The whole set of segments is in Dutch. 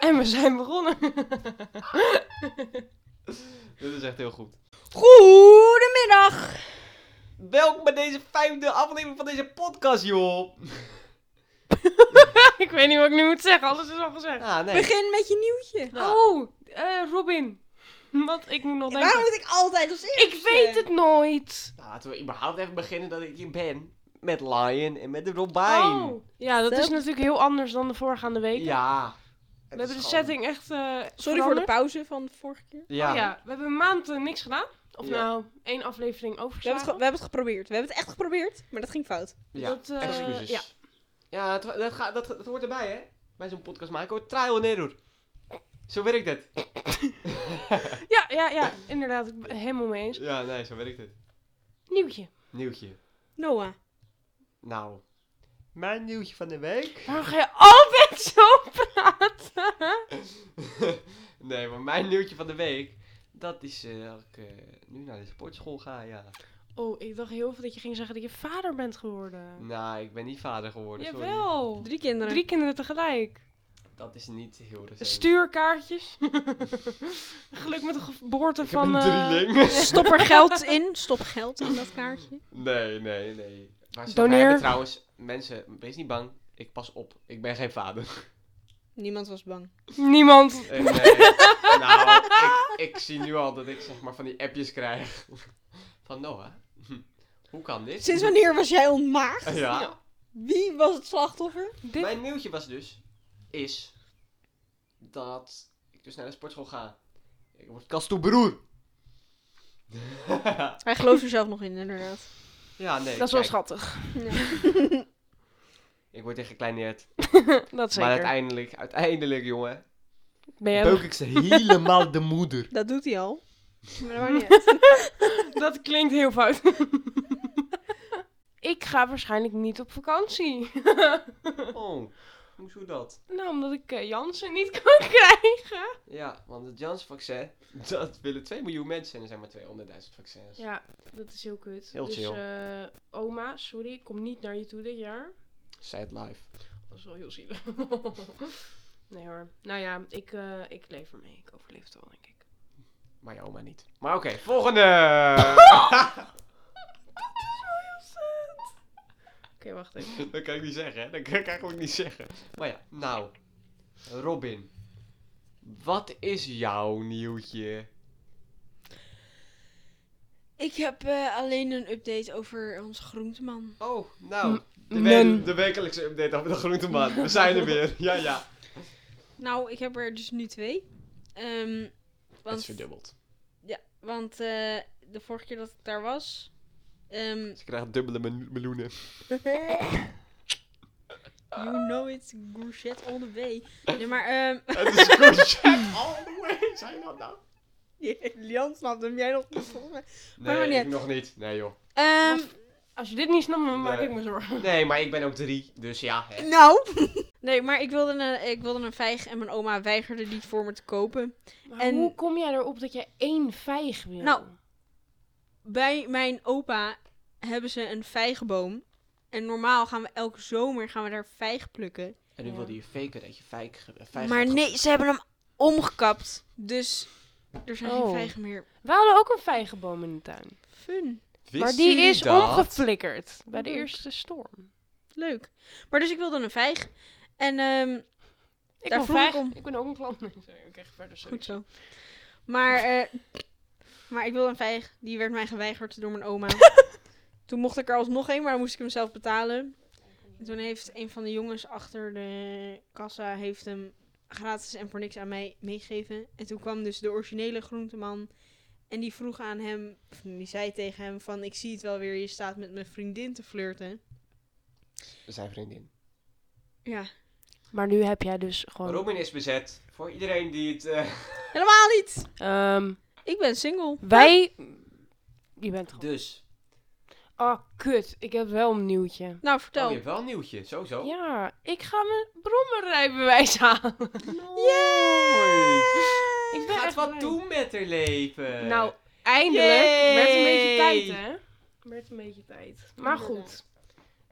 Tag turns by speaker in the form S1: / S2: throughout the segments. S1: we zijn begonnen.
S2: Dit is echt heel goed.
S1: Goedemiddag.
S2: Welkom bij deze vijfde aflevering van deze podcast, joh.
S1: Ik weet niet wat ik nu moet zeggen, alles is al gezegd.
S2: Ah, nee.
S3: Begin met je nieuwtje.
S2: Ja.
S1: Oh, eh, Robin. Wat, ik moet nog denken.
S3: Waarom moet ik altijd als eerste?
S1: Ik weet het nooit.
S2: Nou, laten we überhaupt even beginnen dat ik hier ben. Met Lion en met de Robijn.
S1: Oh. Ja, dat is
S3: Stel-
S1: natuurlijk heel anders dan de voorgaande weken.
S2: Ja.
S1: we hebben de setting echt eh
S3: Sorry voor de pauze van de vorige keer.
S2: Ja.
S1: Ja. ja, we hebben een maand eh, niks gedaan. Of
S2: Ja.
S1: nou, één aflevering
S3: We hebben, het ge-
S1: overgeslagen.
S3: we hebben het geprobeerd. We hebben het echt geprobeerd, maar dat ging fout.
S2: Ja,
S1: Dat, eh,
S2: excuses.
S1: ja.
S2: Ja, dat, dat, gaat, dat, dat hoort erbij, hè? Bij zo'n podcast maken hoor. Trial and error. Zo werkt het.
S1: Ja, ja, ja, inderdaad. Ik ben het helemaal mee eens.
S2: Ja, nee, zo werkt het.
S1: Nieuwtje.
S2: Nieuwtje.
S3: Noah.
S2: Nou. Mijn nieuwtje van de week.
S1: Waarom ga je altijd zo praten?
S2: nee, maar mijn nieuwtje van de week. Dat is eh, dat ik eh, nu naar de sportschool ga, ja.
S1: Oh, ik dacht heel veel dat je ging zeggen dat je vader bent geworden.
S2: Nou, ik ben niet vader geworden, sorry.
S1: Oh. Jawel.
S3: Drie kinderen.
S1: Drie kinderen tegelijk.
S2: Dat is niet heel recent.
S1: Stuurkaartjes. Geluk met de geboorte
S2: ik heb
S1: van...
S2: een
S1: eh,
S2: drieling.
S3: Stop er geld in. Stop geld in dat kaartje.
S2: Nee, nee, nee. Maar ze
S1: Doneer.
S2: hebben trouwens, mensen, wees niet bang. Ik pas op. Ik ben geen vader.
S3: Niemand was bang.
S1: Niemand.
S2: En, nee, nou, ik, ik zie nu al dat ik zeg maar van die appjes krijg. Van Noah, hm, hoe kan dit?
S3: Sinds wanneer was jij ontmaagd?
S2: Ja.
S3: Wie was het slachtoffer?
S1: Dit...
S2: Mijn nieuwtje was dus, is dat ik dus naar de sportschool ga. Ik word kastoebroer.
S3: Hij gelooft er zelf nog in, inderdaad.
S2: ja, nee.
S1: Dat is wel
S2: kijk,
S1: schattig.
S2: Ik word echt gekleineerd.
S1: Dat
S2: Maar
S1: zeker.
S2: uiteindelijk, uiteindelijk jongen,
S1: Ben jij-
S2: beuk ik ze helemaal de moeder.
S3: Dat doet hij al. Maar dat
S1: Dat klinkt heel fout. ik ga waarschijnlijk niet op vakantie.
S2: Oh, hoezo dat?
S1: nou, omdat ik eh, Jansen niet kan krijgen.
S2: Ja, want het Janssen-vaccin, dat willen 2 miljoen mensen en er zijn maar 200.000 vaccins.
S1: Ja, dat is heel kut.
S2: Heel
S1: dus,
S2: chill.
S1: eh, oma, sorry, ik kom niet naar je toe dit jaar.
S2: Sad life.
S1: Dat is wel heel zielig. nee hoor. Nou ja, ik, eh, ik leef ermee. Ik overleef het wel, denk ik.
S2: Maar je oma niet. Maar oké, volgende!
S1: Oké, wacht even.
S2: dat kan ik niet zeggen, hè? Dat kan ik eigenlijk niet zeggen. Maar ja, nou. Robin. Wat is jouw nieuwtje?
S3: Ik heb eh, alleen een update over onze groenteman.
S2: Oh, nou. De,
S1: M-
S2: we-
S1: men.
S2: de wekelijkse update over de groenteman. We zijn er weer. Ja, ja.
S3: Nou, ik heb er dus nu twee. Ehm,
S2: Het is
S3: want
S2: verdubbeld.
S3: want eh, de vorige keer dat ik daar was... ehm,
S2: Ze krijgen Dus dubbele mel- meloenen.
S3: you know it's gourchet all the way. Nee, maar... ehm
S2: Het is good shit all the way. Zijn dat nou?
S3: Lian snapt hem, jij nog niet volgens mij.
S2: Nee,
S3: maar
S2: ik
S3: niet.
S2: nog niet. Nee, joh.
S3: Ehm,
S1: Als je dit niet snapt, dan maak
S2: Nee.
S1: ik me zorgen.
S2: Nee, maar ik ben ook drie. Dus ja. Hè.
S3: nou... Nee, maar ik wilde, een, eh, ik wilde een vijg en mijn oma weigerde die voor me te kopen.
S1: Maar
S3: En-
S1: hoe kom jij erop dat jij één vijg wil?
S3: Nou. Bij mijn opa hebben ze een vijgenboom. En normaal gaan we elke zomer gaan we daar vijg plukken.
S2: En nu
S1: Ja.
S2: wilde je faken dat je vijg, vijg
S3: maar
S2: had
S3: nee, ze hebben hem omgekapt. Dus er zijn
S1: Oh.
S3: geen vijgen meer.
S1: We hadden ook een vijgenboom in de tuin.
S3: Fun.
S2: ge-
S1: maar
S2: Wist
S1: die
S2: je
S1: is
S2: dat?
S1: omgeflikkerd bij de
S3: Leuk.
S1: eerste storm.
S3: Leuk. Maar dus ik wilde een vijg. En ehm,
S1: Ik
S3: Daar
S1: wil
S3: vroeg
S1: vijg.
S3: ik om.
S1: Ik ben ook een klant. Nee, sorry, ik krijg verder sorry.
S3: goed zo. Maar, eh, maar ik wilde een vijg. Die werd mij geweigerd door mijn oma. Toen mocht ik er alsnog een, maar dan moest ik hem zelf betalen. En toen heeft een van de jongens achter de kassa heeft hem gratis en voor niks aan mij meegegeven. En toen kwam dus de originele groenteman. En die vroeg aan hem, of die zei tegen hem van ik zie het wel weer, je staat met mijn vriendin te flirten.
S2: Zijn vriendin.
S3: Ja,
S1: Maar nu heb jij dus gewoon...
S2: Robin is bezet. Voor iedereen die het... eh,
S3: helemaal niet.
S1: Ehm,
S3: Ik ben single.
S1: wij... Je bent gewoon...
S2: Dus.
S1: Oh, kut. Ik heb wel een nieuwtje.
S3: Nou,
S2: Oh,
S3: vertel.
S2: je hebt wel een nieuwtje. Sowieso.
S1: Ja, ik ga mijn brommerrijbewijs halen. Ik ben
S2: Gaat
S1: echt
S2: wat
S1: blij.
S2: doen met haar leven.
S1: Nou, eindelijk.
S2: Eh, Yay!
S1: Werd een beetje tijd, hè? Werd een beetje tijd. Maar goed.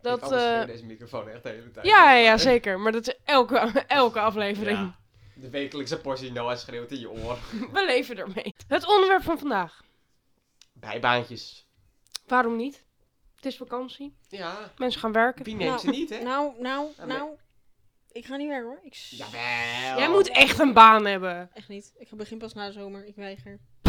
S2: dat...
S1: Dat,
S2: Ik
S1: eh,
S2: deze microfoon echt de hele tijd.
S1: ja, ja, zeker. Maar dat is elke, elke aflevering.
S2: Ja. De wekelijkse portie Noah schreeuwt in je oor.
S1: We leven ermee. Het onderwerp van vandaag.
S2: Bijbaantjes.
S1: Waarom niet? Het is vakantie.
S2: Ja,
S1: Mensen gaan werken.
S2: wie neemt
S3: Nou,
S2: ze niet, hè?
S3: Nou, nou,
S2: maar-
S3: nou. Ik ga niet werken hoor. Ik s-
S2: Jawel.
S1: Jij moet echt een baan hebben.
S3: echt niet. Ik begin pas na de zomer. Ik weiger.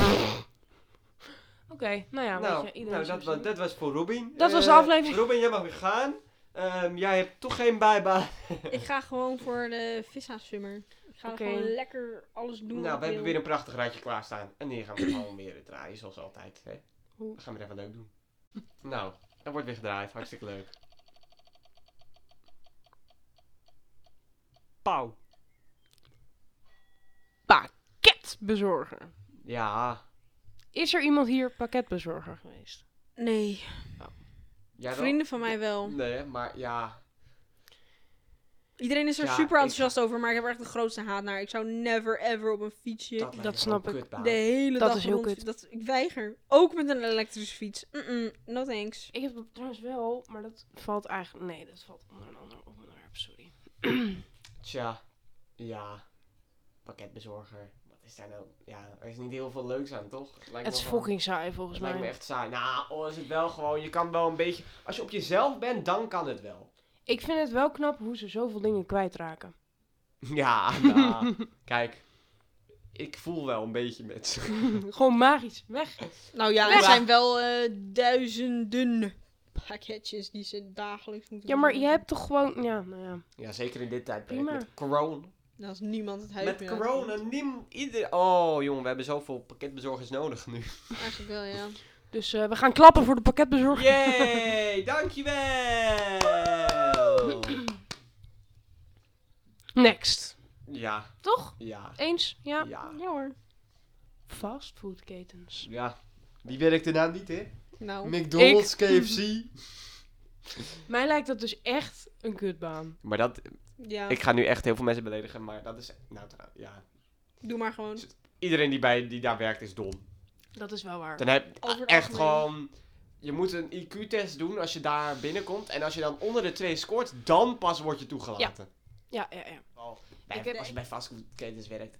S1: Oké, nou ja,
S2: nou,
S1: weet je,
S2: nou
S1: iedereen
S2: dat,
S1: is
S2: was, dat was voor Robin.
S1: Dat was de
S2: Eh,
S1: aflevering.
S2: Robin, jij mag weer gaan. Ehm, jij hebt toch geen bijbaan.
S3: ik ga gewoon voor de vissa-summer. Ik ga
S1: Oké.
S3: gewoon lekker alles doen.
S2: nou, we
S3: wat ik
S2: hebben
S3: wil.
S2: weer een prachtig raadje klaarstaan. En die gaan we gewoon weer draaien, zoals altijd. Hè?
S1: Hoe?
S2: We gaan weer even leuk doen. Nou, dat wordt weer gedraaid. Hartstikke leuk. Pauw.
S1: Pakketbezorger.
S2: Ja.
S1: Is er iemand hier pakketbezorger geweest?
S3: Nee,
S2: Jij wel?
S3: vrienden van mij wel.
S2: Nee, maar ja.
S3: Iedereen is er
S2: Ja,
S3: super
S2: ik-
S3: enthousiast over, maar ik heb er echt de grootste haat naar. Ik zou never ever op een fietsje
S2: Dat, lijkt me
S1: snap
S2: zo'n
S1: ik.
S2: kutbaan.
S3: de hele
S1: Dat
S3: dag
S1: is heel
S3: rond-
S1: kut.
S3: Dat, ik weiger. Ook met een elektrische fiets. Mm-mm, no thanks.
S1: Ik heb het trouwens wel, maar dat valt eigenlijk... Nee, dat valt onder een ander onderwerp, sorry.
S2: Tja. Ja. Pakketbezorger. Wat is daar nou? Ja, er is niet heel veel leuks aan, toch? Lijkt me
S1: Het is
S2: wel-
S1: fucking saai volgens
S2: Het lijkt me
S1: mij.
S2: echt saai. Nou, oh, is het wel gewoon. Je kan wel een beetje. Als je op jezelf bent, dan kan het wel.
S1: Ik vind het wel knap hoe ze zoveel dingen kwijtraken.
S2: Ja, nou, kijk. Ik voel wel een beetje met ze.
S1: Gewoon magisch, weg.
S3: Nou ja, er
S2: Weg.
S3: zijn wel eh, duizenden pakketjes die ze dagelijks moeten
S1: Ja, maar
S3: bezorgen.
S1: je hebt toch gewoon... Ja, nou ja.
S2: Ja, zeker in dit tijdperk.
S1: Prima.
S2: Met corona.
S3: Dan is Nou, niemand het huis
S2: Met
S3: meer aan
S2: corona, niem ieder... Oh, jongen, we hebben zoveel pakketbezorgers nodig nu.
S3: komt. Eigenlijk wel, ja.
S1: Dus eh, we gaan klappen voor de pakketbezorger.
S2: Yay, dankjewel!
S1: Next.
S2: Ja,
S1: Toch?
S2: ja,
S1: Eens? Ja.
S2: ja.
S3: Ja hoor.
S1: Fastfoodketens.
S2: Ja, wie werkt er nou niet, hè?
S3: Nou,
S2: McDonald's, KFC.
S1: Mij lijkt dat dus echt een kutbaan.
S2: Maar dat...
S3: ja.
S2: Ik ga nu echt heel veel mensen beledigen, maar dat is... Nou, tra- ja.
S3: Doe maar gewoon.
S2: Iedereen die, bij, die daar werkt is dom.
S1: Dat is wel waar.
S2: Dan heb
S3: Over het
S2: echt
S3: algemeen.
S2: gewoon... Je moet een IQ-test doen als je daar binnenkomt. En als je dan onder de twee scoort, dan pas word je toegelaten.
S1: Ja, ja, ja.
S2: Oh, bij-
S1: Ik heb-
S2: als je bij fastfoodketens werkt.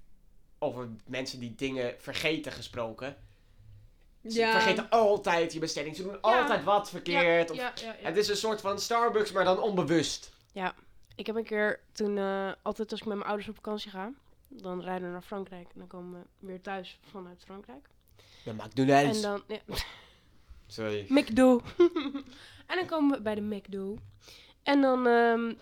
S2: Over mensen die dingen vergeten gesproken. Ze
S3: Ja.
S2: vergeten altijd je bestelling. Ze doen altijd wat verkeerd. of-
S1: Ja, ja, ja.
S2: Het is een soort van Starbucks, maar dan onbewust.
S1: Ik heb een keer toen, eh, altijd als ik met mijn ouders op vakantie ga, dan rijden we naar Frankrijk. En dan komen we weer thuis vanuit Frankrijk.
S2: De
S1: En
S2: McDonald's.
S1: dan, ja,
S2: Sorry.
S1: McDo. en dan komen we bij de McDo. En dan, ehm,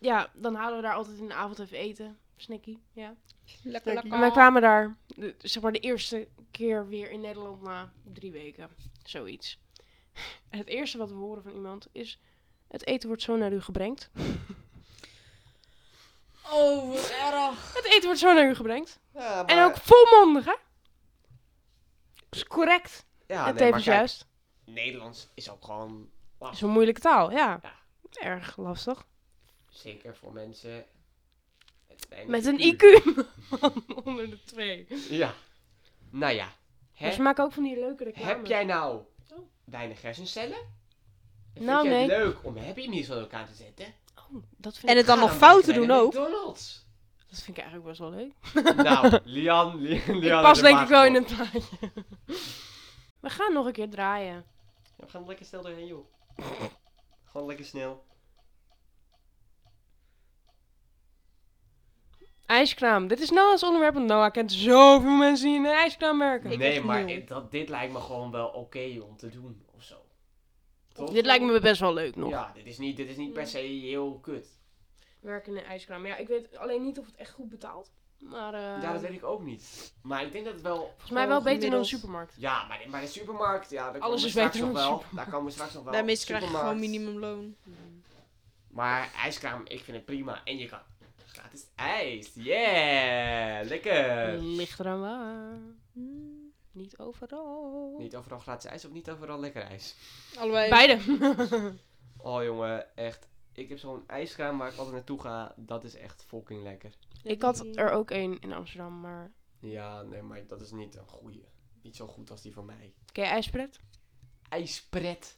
S1: ja, dan halen we daar altijd in de avond even eten. Snicky, ja.
S3: Lekker, lekker.
S1: En wij kwamen daar, de- zeg maar, de eerste keer weer in Nederland na drie weken. Zoiets. En het eerste wat we horen van iemand is... Het eten wordt zo naar u gebrengd.
S3: Oh, wat erg.
S1: Het eten wordt zo naar u gebrengd.
S2: Ja, maar,
S1: En ook volmondig, hè? Is correct. het
S2: ja, Ah, nee, maar
S1: tevens
S2: kijk,
S1: juist.
S2: Nederlands is ook gewoon ah,
S1: Is een moeilijke taal, ja.
S2: Ja.
S1: Erg lastig.
S2: zeker voor mensen... met weinig
S1: Met een IQ. man, onder de twee.
S2: Ja. Nou ja. Hè?
S1: Maar ze maken Dus ook van die leuke reclames.
S2: Heb jij nou
S1: Oh.
S2: weinig hersencellen? En
S1: Nou,
S2: Vind jij het
S1: nee.
S2: leuk om happy meals aan elkaar te zetten?
S1: Oh, dat vind,
S3: En
S1: ik,
S3: het dan
S2: Ga
S3: nog
S2: dan
S3: fouten
S2: lekker bij
S3: doen
S2: de
S3: ook.
S2: McDonald's.
S1: dat vind ik eigenlijk best wel leuk.
S2: nou, Lian, Lian, Lian.
S1: ik
S2: is
S1: pas
S2: een
S1: denk ik wel in
S2: maagdbol.
S1: het plaatje. We gaan nog een keer draaien.
S2: Ja, we gaan er lekker snel doorheen, joh. Gewoon lekker snel.
S1: IJskraam. Dit is Noah's onderwerp, want Noah kent zoveel mensen die in een ijskraam werken.
S3: Ik
S2: nee,
S3: echt
S2: maar
S3: nul.
S2: ik- dat, dit lijkt me gewoon wel oké om te doen, of zo. Toch?
S1: Dit lijkt me best wel leuk nog.
S2: Ja, dit is, niet, dit is niet per se heel kut.
S1: Werken in een ijskraam. Ja, ik weet alleen niet of het echt goed betaalt. Maar eh,
S2: ja, dat weet ik ook niet. Maar ik denk dat het wel...
S1: volgens mij wel beter dan een
S3: Gemiddeld.
S1: supermarkt.
S2: Ja, maar, de- maar de supermarkt, ja,
S1: Alles
S2: daar komen we
S1: is
S2: straks
S1: beter
S2: nog
S1: dan de
S2: wel. Daar komen we straks nog wel.
S3: Bij meesten krijg je gewoon
S2: Supermarkt.
S3: minimumloon.
S2: Maar ijskraam, ik vind het prima. En je kan gratis ijs. Yeah, lekker.
S1: Ligt eraan waar.
S3: Hmm.
S1: Niet overal.
S2: Niet overal gratis ijs of niet overal lekker ijs.
S3: Allebei.
S1: Beide.
S2: Oh jongen, echt. Ik heb zo'n ijskraam waar ik altijd naartoe ga. Dat is echt fucking lekker.
S1: ik had er ook één in Amsterdam, maar...
S2: Ja, nee, maar dat is niet een goeie. Niet zo goed als die van mij.
S1: Ken je ijspret?
S2: IJspret.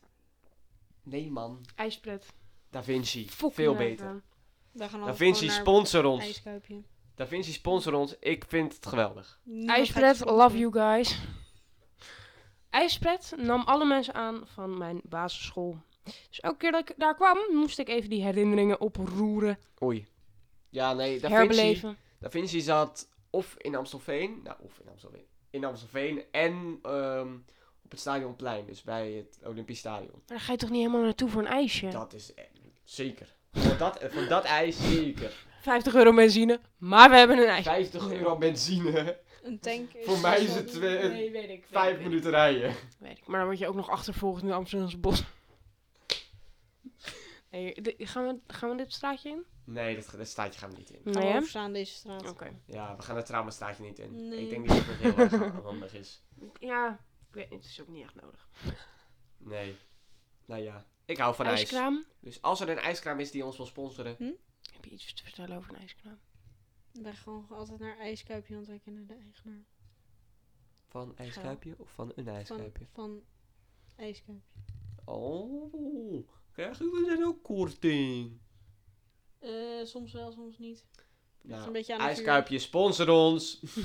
S2: Nee man.
S1: Ijspret.
S2: Da Vinci.
S1: Fucking
S2: Veel
S1: lekker.
S2: beter.
S3: Daar gaan
S2: Da
S3: altijd
S2: Vinci,
S3: gewoon naar
S2: sponsor ons.
S3: ijskuipje.
S2: Da Vinci sponsor ons. Ik vind het geweldig.
S3: Niemand
S1: IJspret,
S3: gaat het
S1: love you guys. IJspret nam alle mensen aan van mijn basisschool. Dus elke keer dat ik daar kwam, moest ik even die herinneringen oproeren,
S2: Oei. Ja, nee, Da Vinci,
S1: herbeleven.
S2: da Vinci zat of in Amstelveen, nou, of in Amstelveen, in Amstelveen en ehm, op het Stadionplein, dus bij het Olympisch Stadion.
S1: Maar daar ga je toch niet helemaal naartoe voor een ijsje?
S2: Dat is eh, zeker. Voor dat, voor dat ijs zeker.
S1: 50 euro benzine, maar we hebben een ijsje.
S2: 50 euro benzine,
S3: Een tank is...
S2: Voor mij is het twee-
S1: Nee, weet ik.
S2: 5 minuten rijden.
S1: Weet ik. Maar dan word je ook nog achtervolgd in de Amsterdamse bos. Nee, de- gaan, we, gaan we dit straatje in?
S2: Nee, dat, dat staatje gaan we niet in.
S3: Gaan we
S1: hè?
S3: overslaan deze straat.
S1: Oké.
S2: Ja, we gaan het traumastraatje niet in.
S3: Nee.
S2: Ik denk niet dat het heel erg handig is.
S1: Ja, ik weet, het is ook niet echt nodig.
S2: Nee. Nou ja, ik hou van ijs.
S1: ijskraam?
S2: Dus als er een ijskraam is die ons wil sponsoren,
S1: Heb je iets te vertellen over een ijskraam?
S3: Ik ben gewoon altijd naar IJskuipje, want wij kennen de eigenaar.
S2: van ijskuipje of van een
S3: Van,
S2: ijskuipje?
S3: van IJskuipje.
S2: Oh, krijgen we dan ook korting?
S3: Eh, soms wel, soms niet. Ligt een
S2: Nou,
S3: beetje aan de
S2: ijskuipje, sponsor ons.
S3: vuur.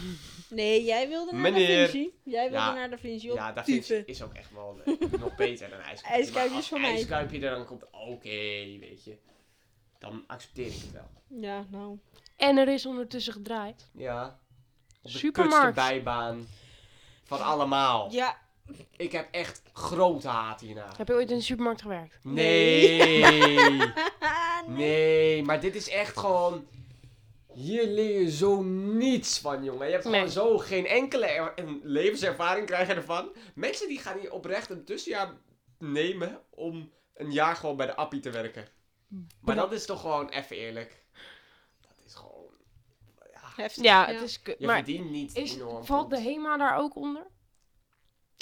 S3: Nee, jij wilde naar
S2: Meneer.
S3: Da Vinci. Jij wilde
S2: Ja.
S3: naar Da Vinci op
S2: Ja, dat
S3: type.
S2: vind ik- is ook echt wel eh, nog beter dan ijskuipje. Maar
S3: Ijskuipje is
S2: als
S3: van mij.
S2: ijskuipje er dan komt, oké, weet je. Dan accepteer ik het wel.
S3: Ja, nou.
S1: En er is ondertussen gedraaid.
S2: Ja. Op de
S1: Supermarkt.
S2: kutste bijbaan van allemaal.
S3: Ja,
S2: Ik heb echt grote haat hierna.
S1: Heb je ooit in de supermarkt gewerkt?
S2: Nee. Nee, maar dit is echt gewoon... Hier leer je zo niets van, jongen. Je hebt gewoon
S1: Nee.
S2: zo geen enkele er- en levenservaring krijgen ervan. Mensen die gaan hier oprecht een tussenjaar nemen om een jaar gewoon bij de appie te werken. Maar dat is toch gewoon even eerlijk. Dat is gewoon...
S3: heftig.
S1: Ja, het is kut.
S2: Je
S1: Maar
S2: verdient niet
S1: is,
S2: enorm
S1: valt
S2: goed.
S1: de HEMA daar ook onder?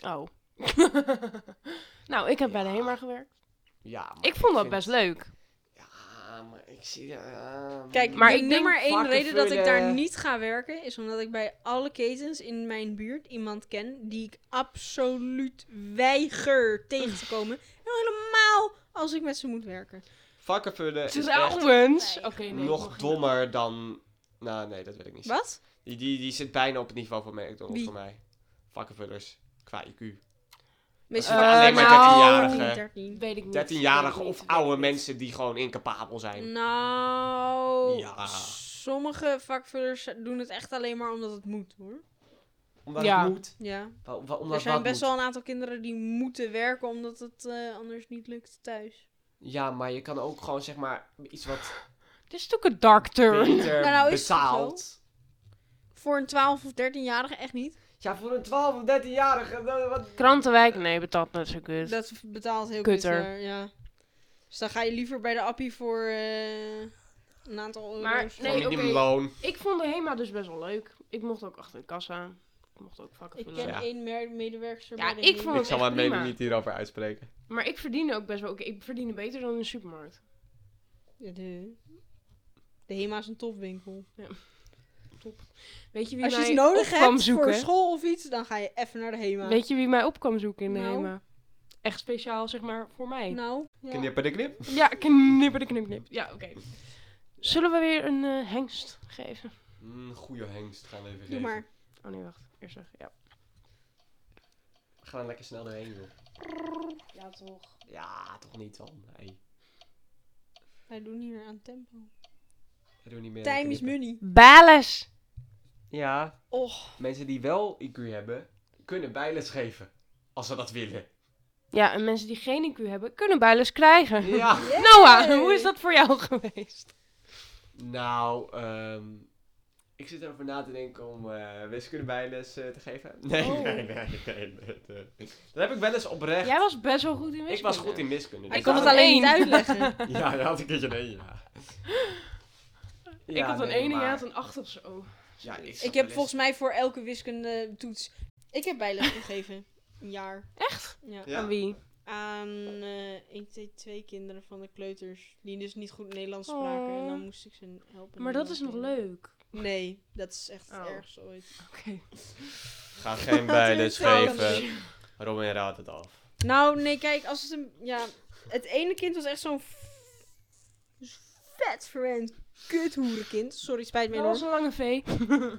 S1: Oh. nou, ik heb bij de
S2: Ja.
S1: HEMA gewerkt.
S2: Ja, maar
S1: Ik vond dat
S2: Oh, vind-
S1: best leuk.
S2: Ja, maar ik zie... ja,
S3: Kijk,
S1: Maar
S3: maar de
S1: ik denk
S3: nummer één
S2: vakken
S3: reden dat ik daar
S2: vullen-
S3: niet ga werken is omdat ik bij alle ketens in mijn buurt iemand ken die ik absoluut weiger tegen te komen. En al helemaal als ik met ze moet werken.
S2: Vakkenvullen is echt
S1: Trouwens. Oké,
S3: echt
S1: nee. ik mag
S2: nog
S1: niet.
S2: dommer dan... Nou, nee, dat weet ik niet.
S3: Wat?
S2: Die, die, die zit bijna op het niveau van McDonald's
S3: Wie?
S2: voor mij. Vakkenvullers. Qua IQ.
S3: Meestal
S2: Eh,
S3: Ah,
S1: alleen maar nou.
S2: 13-jarigen.
S3: 13.
S1: Weet ik niet. Weet
S2: 13-jarige
S1: ik
S2: of
S1: niet.
S2: oude mensen die gewoon incapabel zijn.
S3: Mm. Nou,
S2: Ja.
S3: sommige vakvullers doen het echt alleen maar omdat het moet, hoor.
S2: Omdat
S1: Ja.
S2: het moet.
S3: Ja.
S2: Wa- wa- omdat
S3: er zijn
S2: wat
S3: best
S2: moet.
S3: wel een aantal kinderen die moeten werken omdat het eh, anders niet lukt thuis.
S2: Ja, maar je kan ook gewoon zeg maar iets wat
S1: Dit is natuurlijk een dark turn.
S2: beter
S3: Nou, nou is het
S2: betaald.
S3: Voor een 12 of 13-jarige echt niet.
S2: Ja, voor een 12 of 13-jarige. dat- wat-
S1: Krantenwijk? Nee, betaalt net zo goed.
S3: Dat betaalt heel
S1: Dus Kutter.
S3: kutter, ja. Dus dan ga je liever bij de appie voor eh, een aantal euro's.
S1: Maar- nee, oké.
S2: Minimumloon.
S3: Oh,
S1: Ik vond de HEMA dus best wel leuk. Ik mocht ook achter de kassa. Ik mocht ook vakken
S3: Ik ken
S1: vullen.
S2: Ja.
S3: één mer- medewerker
S1: Ja,
S3: bij de
S1: ik
S3: HEMA.
S1: vond het-
S2: Ik zal
S1: echt
S2: mijn mening
S1: prima.
S2: niet hierover uitspreken.
S1: Maar ik verdiende ook best wel... Oké, ik verdiende beter dan in de supermarkt.
S3: Ja, de... de HEMA is een topwinkel.
S1: Weet je wie
S3: Als je
S1: mij
S3: iets nodig
S1: op kwam
S3: hebt voor
S1: zoeken?
S3: school of iets, dan ga je even naar de HEMA.
S1: Weet je wie mij op kwam zoeken in de
S3: Nou.
S1: HEMA? Echt speciaal, zeg maar, voor mij.
S3: Nou, ja.
S2: Knipper de knip.
S1: Ja, knipper de knip, knip. Ja, oké. Zullen we weer een eh, hengst geven?
S2: Mm, goeie hengst. Gaan we even
S3: Doe
S2: geven.
S3: maar.
S1: Oh nee, wacht. Eerst weg. Ja.
S2: Ga er lekker snel doorheen, joh.
S3: Ja, toch.
S2: Ja, toch niet dan. Nee.
S3: Wij doen hier aan tempo.
S2: Ik doe niet meer. aan
S3: Time is
S2: knippen.
S3: money.
S1: Bales!
S2: Ja,
S3: Och,
S2: Mensen die wel IQ hebben, kunnen bijles geven. Als ze dat willen.
S1: Ja, en mensen die geen IQ hebben, kunnen bijles krijgen.
S2: Ja.
S1: Noah, Nou, ah, hoe is dat voor jou geweest?
S2: Nou, ehm, ik zit erover na te denken om eh wiskunde bijles eh, te geven. Nee,
S3: Oh.
S2: nee, nee, nee, nee, nee. Dat heb ik wel eens oprecht.
S1: Jij was best wel goed in wiskunde.
S2: ik was goed in wiskunde.
S3: hij
S2: dus
S3: kon
S1: had
S3: het
S2: dat-
S1: een
S3: alleen niet
S1: één.
S3: uitleggen.
S2: Ja, daar had ik een keertje een één, ja.
S1: ik had een 1 en
S2: jaar
S1: jij had een 8 of zo.
S2: Ja, ik, zat wel
S3: ik heb
S2: eens-
S3: volgens mij voor elke wiskunde toets... Ik heb bijles gegeven. Een jaar.
S1: Echt?
S3: Ja.
S1: Aan
S2: Ja.
S1: wie?
S3: Aan eh ik deed twee kinderen van de kleuters. Die dus niet goed Nederlands spraken. En dan
S1: Oh.
S3: moest ik ze helpen.
S1: Maar dat is nog
S3: Nederlands
S1: leuk.
S3: leren. Nee, dat is echt
S1: Oh.
S3: ergens ergst ooit.
S1: Oké.
S2: Ga geen
S3: bijles
S2: bijles
S3: geven.
S2: geven. Robin raadt het af.
S3: Nou, nee, kijk, als het een... Ja, het ene kind was echt zo'n... f- vet verwend kuthoerenkind. Sorry, spijt me
S1: Dat
S3: enorm.
S1: was een lange V.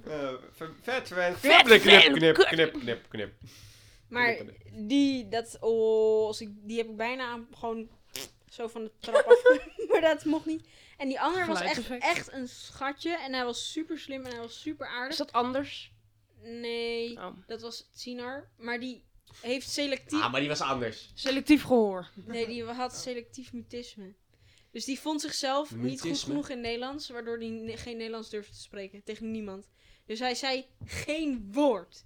S2: Eh, ver- Vet, verwend.
S1: Vet,
S2: Knippelen, knip,
S1: verwend,
S2: knip,
S1: kut.
S2: knip, knip, knip.
S3: Maar
S2: dus.
S3: die, dat, oh, als ik, die heb ik bijna aan- gewoon zo van de trap af. maar dat mocht niet. En die ander was echt,
S1: Geluidseffect.
S3: echt een schatje. En hij was super slim en hij was super
S1: Is
S3: aardig.
S1: dat anders?
S3: Nee,
S1: Oh.
S3: dat was Sinar. Maar die heeft selectief...
S2: Ah, maar die was anders.
S1: Selectief gehoor.
S3: Nee, die had selectief mutisme. Dus die vond zichzelf niet goed
S2: Mutisme?
S3: genoeg in Nederlands, waardoor hij ne- geen Nederlands durfde te spreken tegen niemand. Dus hij zei geen woord.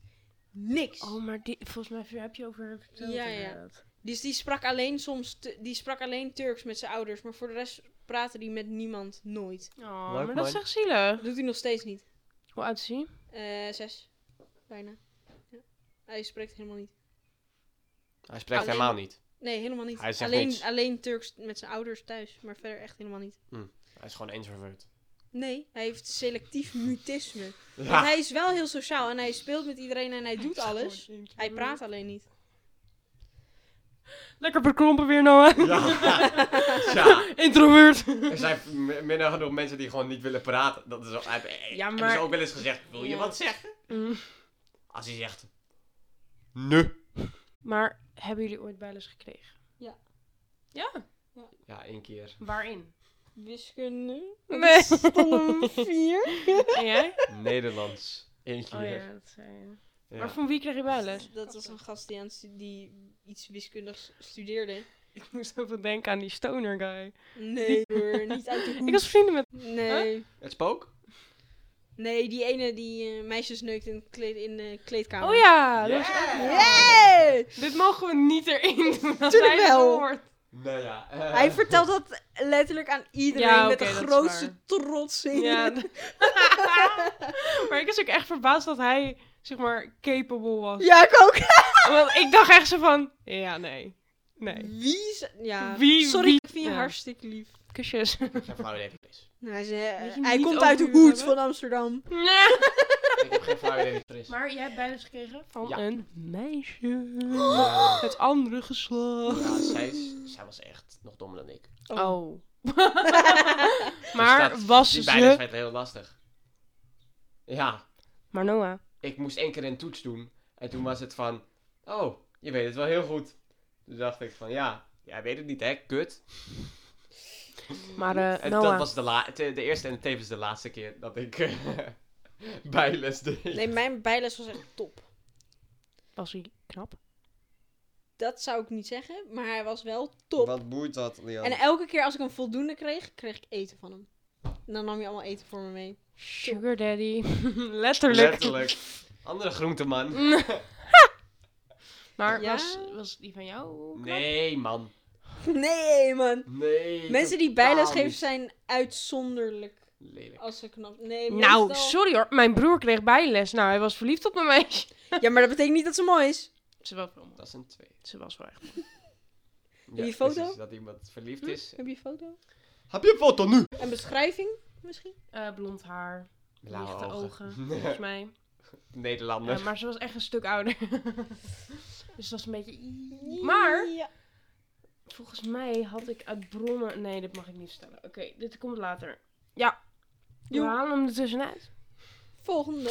S3: Niks.
S1: Oh, maar die, volgens mij heb je over hem verteld.
S3: Ja, ja.
S1: inderdaad.
S3: Dus die sprak alleen soms, Tu- die sprak alleen Turks met zijn ouders, maar voor de rest praatte die met niemand nooit.
S1: Oh,
S2: Leuk,
S1: maar dat is
S2: man.
S1: echt zielig.
S3: Dat doet hij nog steeds niet.
S1: Hoe oud is hij?
S3: Eh, zes. Bijna. Ja. Hij spreekt helemaal niet.
S2: Hij spreekt
S1: Oh,
S3: Alleen-
S2: helemaal niet.
S3: Nee, helemaal niet.
S2: Hij zegt
S3: alleen,
S2: niks.
S3: alleen Turks met zijn ouders thuis, maar verder echt helemaal niet.
S2: Hij is gewoon introvert.
S3: Nee, hij heeft selectief mutisme. Want
S2: Ja.
S3: hij is wel heel sociaal en hij speelt met iedereen en hij doet alles. Hij praat alleen niet.
S1: Lekker bekrompen weer, Noah.
S2: Ja. ja.
S1: Introvert.
S2: Er zijn mi- meer dan genoeg mensen die gewoon niet willen praten. Dat is ook, hij- hij-
S1: Ja,
S2: er
S1: maar-
S2: is ook wel eens gezegd, wil je
S3: Ja.
S2: wat zeggen?
S1: Mm.
S2: Als hij zegt, nee.
S1: Maar hebben jullie ooit bijles gekregen?
S3: Ja.
S1: Ja?
S2: Ja, één keer.
S1: Waarin?
S3: Wiskunde.
S1: Nee.
S3: Stomme vier.
S1: En jij?
S2: Nederlands. Eén keer.
S1: Oh
S2: ja.
S1: ja, dat zei je. Maar van wie kreeg je bijles?
S3: Dat was een gast die, aan het stu- die iets wiskundigs studeerde.
S1: Ik moest even denken aan die stoner guy.
S3: Nee hoor, niet uit de hoek.
S1: Ik was vrienden met...
S3: Nee.
S2: Het spook?
S3: Nee, die ene die eh, meisjes neukt in, de kleed, in de kleedkamer.
S1: Oh ja! dat was-
S2: Ja.
S3: Yay!
S1: Dit mogen we niet erin doen. als
S3: Tuurlijk
S1: hij het
S3: wel.
S1: hoort.
S2: Nou ja. eh,
S3: Hij vertelt dat letterlijk aan iedereen
S1: Ja,
S3: met de
S1: oké, dat is
S3: grootste
S1: waar.
S3: trots in.
S1: Ja. maar ik was ook echt verbaasd dat hij, zeg maar, capable was.
S3: Ja, ik ook.
S1: Want ik dacht echt zo van, ja, nee. Nee.
S3: Wie? z- Ja.
S1: Wie-
S3: Sorry,
S1: wie-
S3: ik vind je
S1: ja.
S3: hartstikke lief.
S1: Kusjes.
S2: Geen flauw idee wie het is.
S3: Nou, hij is, eh,
S1: Weet je
S3: hij
S1: niet
S3: komt
S1: over
S3: uit de
S1: wie we
S3: hoed
S1: hebben?
S3: van Amsterdam.
S2: Ik heb geen flauw idee wie het is.
S1: maar jij hebt bijles gekregen van
S2: Ja.
S1: een meisje. Het andere geslacht.
S2: Ja, zij, is- zij was echt nog dommer dan ik.
S1: Oh.
S3: Oh.
S1: maar
S2: Dus dat-
S1: was
S2: Die
S1: ze...
S2: bijles werd heel lastig. Ja.
S1: Maar Noah.
S2: ik moest één keer een toets doen. En toen was het van, oh, je weet het wel heel goed. Toen dacht ik van, ja, jij weet het niet hè, kut.
S1: Maar eh,
S2: En dat
S1: Noah.
S2: was de, la- te- de eerste en tevens de laatste keer dat ik eh, bijles deed.
S3: Nee, mijn bijles was echt top.
S1: Was hij knap?
S3: Dat zou ik niet zeggen, maar hij was wel top.
S2: Wat boeit dat, Leon?
S3: En elke keer als ik een voldoende kreeg, kreeg ik eten van hem. En dan nam je allemaal eten voor me mee.
S1: Sugar daddy. Letterlijk.
S2: Letterlijk. Andere groenteman.
S3: Mm.
S1: Maar
S3: Ja?
S1: was, was die van jou knap?
S2: Nee, man.
S3: Nee, man.
S2: Nee.
S3: Mensen die
S2: totaal
S3: bijles geven
S2: niet.
S3: zijn uitzonderlijk.
S2: Lelijk.
S3: Als ze knap. Nee,
S1: Nou,
S3: meestal-
S1: sorry hoor. Mijn broer kreeg bijles. Nou, hij was verliefd op mijn meisje.
S3: Ja, maar dat betekent niet dat ze mooi is.
S1: Ze was wel mooi.
S2: Dat is een twee.
S1: Ze was wel echt.
S2: Ja,
S3: je foto? Hm?
S2: precies, dat iemand verliefd is.
S3: Heb je een foto?
S2: Heb je een foto nu?
S3: Een beschrijving misschien?
S1: Eh, blond haar.
S2: Blauwe
S1: lichte ogen.
S2: ogen.
S1: Volgens mij.
S2: Nederlander.
S1: Eh, maar ze was echt een stuk ouder. dus dat was een beetje... Maar-
S3: Ja.
S1: Volgens mij had ik uit bronnen... Nee, dat mag ik niet vertellen. Oké, dit komt later. Ja. We
S3: Joe.
S1: halen hem er tussenuit.
S3: Volgende.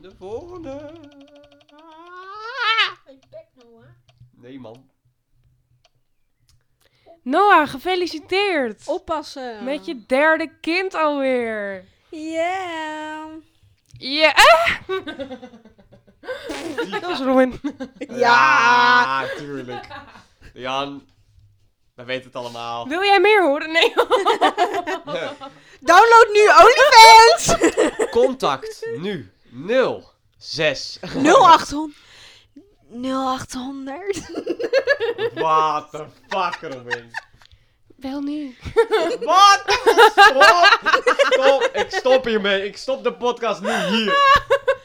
S2: De volgende.
S1: Ah,
S2: Nee, man.
S1: Noah, gefeliciteerd.
S3: Oppassen.
S1: Met je derde kind alweer.
S3: Yeah.
S1: Ja. dat was Robin.
S3: Ja.
S2: tuurlijk. Jan, we weten het allemaal.
S1: Wil jij meer horen? Nee.
S3: Download nu OnlyFans.
S2: Contact nu 06.
S3: 0800. 0800.
S2: What the fuck, Robin?
S1: Wel nu.
S2: Wat? Stop! Stop! Ik stop hiermee. Ik stop de podcast nu hier.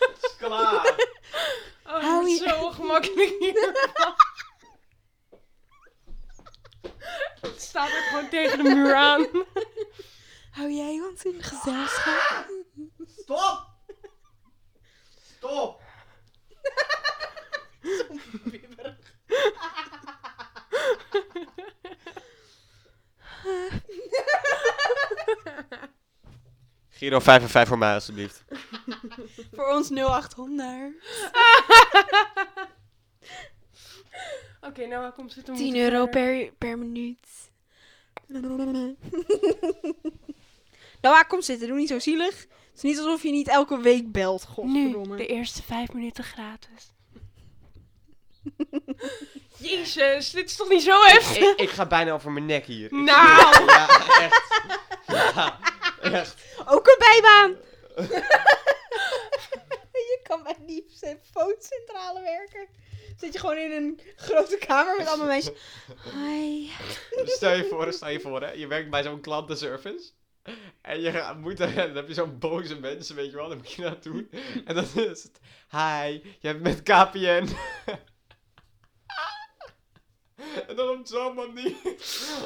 S2: Het is klaar.
S1: Oh,
S3: Hou
S1: het is
S3: je-
S1: zo ongemakkelijk hier. Het staat er gewoon tegen de muur aan.
S3: Hou jij ons in gezelschap?
S2: Stop! Stop! Giro 5 en 5 voor mij, alsjeblieft.
S4: Voor ons 0800.
S1: Oké, nou waar komt het? We
S4: 10
S1: moeten
S4: euro
S1: verder.
S4: per, per minuut.
S3: Nou, kom zitten. Doe niet zo zielig. Het is niet alsof je niet elke week belt.
S4: Nu,
S3: Godverdomme.
S4: de eerste 5 minuten gratis.
S1: Jezus, dit is toch niet zo heftig?
S2: ik, ik ga bijna over mijn nek hier. Ik-
S1: Nou.
S2: Ja, echt. Ja, echt.
S3: Ook een bijbaan. je kan bij die telefooncentrale werken. Zit je gewoon in een grote kamer met allemaal mensen. Hi.
S2: Stel je voor, stel je voor, hè. Je werkt bij zo'n klantenservice. En je gaat- moet, dan heb je zo'n boze mensen, weet je wel. Dan moet je naartoe. En dan is het... Hi, je hebt met KPN. en dan op zo'n manier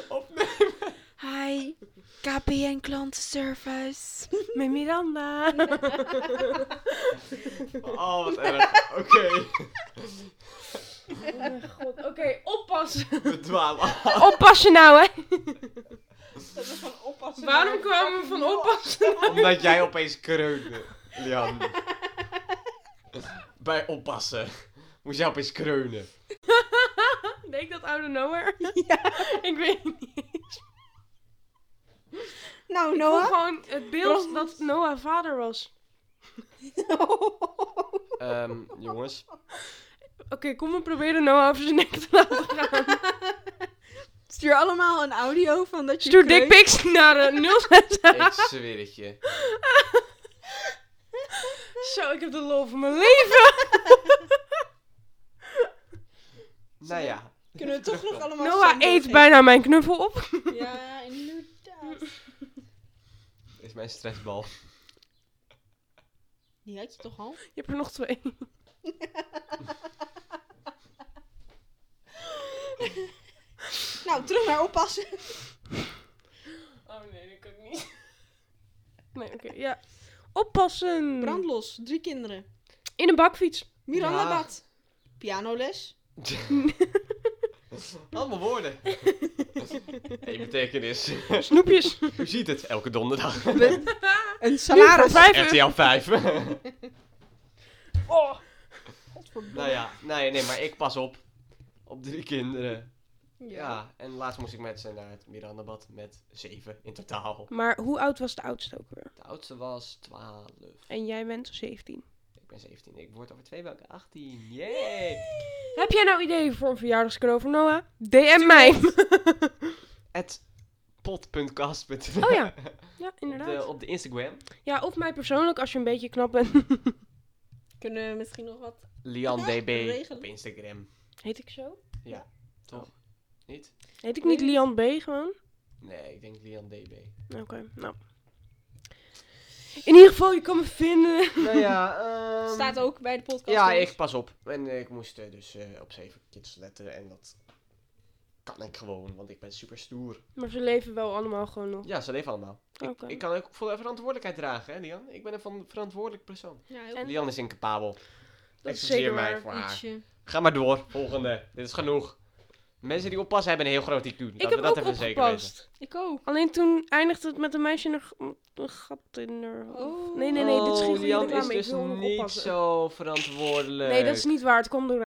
S2: opnemen.
S4: Hi, KPN klantenservice.
S1: Met Miranda.
S2: Oh, wat erg. Oké,
S1: Oh mijn god. Oké, oppassen.
S2: we dwalen af.
S1: Oppassen nou, hè.
S3: Dat is van oppassen.
S1: Waarom kwamen we van oppassen?
S2: Omdat jij opeens kreunde, Lian. Bij oppassen. Moest jij opeens kreunen.
S1: Denk ik dat out of nowhere? Ik weet niet.
S3: Nou,
S1: Ik voel
S3: Noah.
S1: gewoon het beeld dat Noah vader was.
S2: Ehm, jongens.
S1: Oké, kom we proberen Noah over zijn nek te laten gaan.
S3: Stuur allemaal een audio van dat je.
S1: Stuur
S3: kreunt.
S1: dickpics naar uh,
S2: Ik zweer het je.
S1: Zo, ik heb de lol van mijn leven.
S2: Nou ja.
S3: Kunnen we toch nog allemaal.
S1: Noah
S3: Sunday
S1: eet
S3: feesten?
S1: bijna mijn knuffel op.
S3: Ja, inderdaad.
S2: Is mijn stressbal.
S3: Die had je toch al?
S1: Je hebt er nog twee.
S3: Nou, terug naar oppassen.
S1: Hmm. Oh nee, dat kan ik niet. Nee, oké, ja. Oppassen.
S3: Brandlos, drie kinderen.
S1: In een bakfiets.
S3: Miranda
S2: Ja.
S3: Bad. Pianoles.
S2: Allemaal woorden. Eén betekenis.
S1: Snoepjes.
S2: U ziet het elke donderdag.
S3: Een
S1: Salaris.
S3: salaris.
S2: RTL 5.
S1: Oh.
S2: nou ja. Nee, nee, maar ik pas op. Op drie kinderen.
S3: Ja.
S2: Ja. En laatst moest ik met ze naar het Mirandabad met zeven in totaal.
S1: Maar hoe oud was de oudste ook weer?
S2: De oudste was 12.
S1: En jij bent 17.
S2: Ik ben 17. Ik word over twee weken 18. Yay!
S1: Heb jij nou ideeën voor een verjaardagscadeau voor Noah? DM mij.
S2: At pot.cast.nl
S1: Oh ja. Ja,
S2: Op de,
S1: inderdaad.
S2: op de Instagram.
S1: Ja, of mij persoonlijk als je een beetje knap bent.
S3: Kunnen we misschien nog wat?
S2: LianDB.
S3: Regelen.
S2: Op Instagram.
S1: Heet ik zo?
S2: Toch? Niet?
S1: Heet ik niet
S3: Nee.
S1: Lian B gewoon?
S2: Nee, ik denk LianDB.
S1: Oké, nou. In ieder geval, je kan me vinden.
S2: nou ja,
S1: Ehm,
S3: Staat ook bij de podcast.
S2: Ja,
S3: jongens.
S2: ik pas op. En eh, ik moest eh, dus eh, op zeven kids letten. En dat kan ik gewoon, want ik ben super stoer.
S1: Maar ze leven wel allemaal gewoon nog.
S2: Ja, ze leven allemaal. Ik,
S1: Oké.
S2: ik kan ook volle verantwoordelijkheid dragen, hè, Lian? Ik ben een van verantwoordelijk persoon.
S3: Ja, heel
S1: En-
S2: Lian is incapabel.
S1: Dat is
S2: Excuseer
S1: zeker
S2: mij
S1: waar.
S2: voor haar.
S3: ietsje.
S2: Ga maar door. Volgende. Dit is genoeg. Mensen die oppassen hebben een heel groot IQ. Laten
S1: Ik
S2: we
S1: heb
S2: dat
S1: ook
S2: even zeker weten.
S1: opgepast.
S3: Ik ook.
S1: Alleen toen eindigde het met een meisje in een g- een gat in haar hoofd.
S3: Oh.
S1: Nee, nee, nee, dit is geen goede
S2: Lian
S1: reclame.
S2: is dus
S1: ik wil nog
S2: niet
S1: oppassen.
S2: zo verantwoordelijk.
S1: Nee, dat is niet waar. Het kwam door...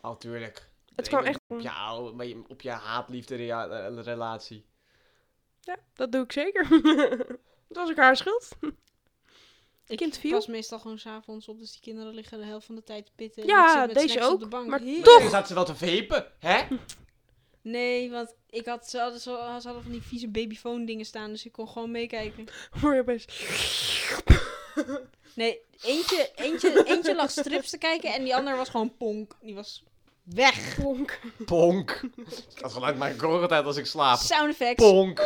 S2: Al tuurlijk.
S1: Het kwam
S2: Nee,
S1: echt...
S2: Op je, oude- maar je- op je haatliefde rea- eh, relatie.
S1: Ja, dat doe ik zeker. Het was ook haar schuld.
S3: Ik
S1: Kind viel.
S3: pas meestal gewoon s'avonds op, dus die kinderen liggen de helft van de tijd te pitten. en
S1: Ja,
S3: ik zit met
S1: deze
S3: snacks op
S1: ook,
S3: de bank.
S1: maar
S3: Heerlijk.
S2: Toen zat ze wel te vepen, hè?
S3: Nee, want ik had, ze, hadden, zo- ze hadden van die vieze babyfoon dingen staan, dus ik kon gewoon meekijken.
S1: Hoor je opeens...
S3: Nee, eentje, eentje, eentje lag strips te kijken en die ander was gewoon ponk. Die was weg.
S1: Plonk.
S2: Ponk. Dat geluid maak ik ook altijd als ik slaap.
S3: Sound effects.
S2: Ah, Ponk.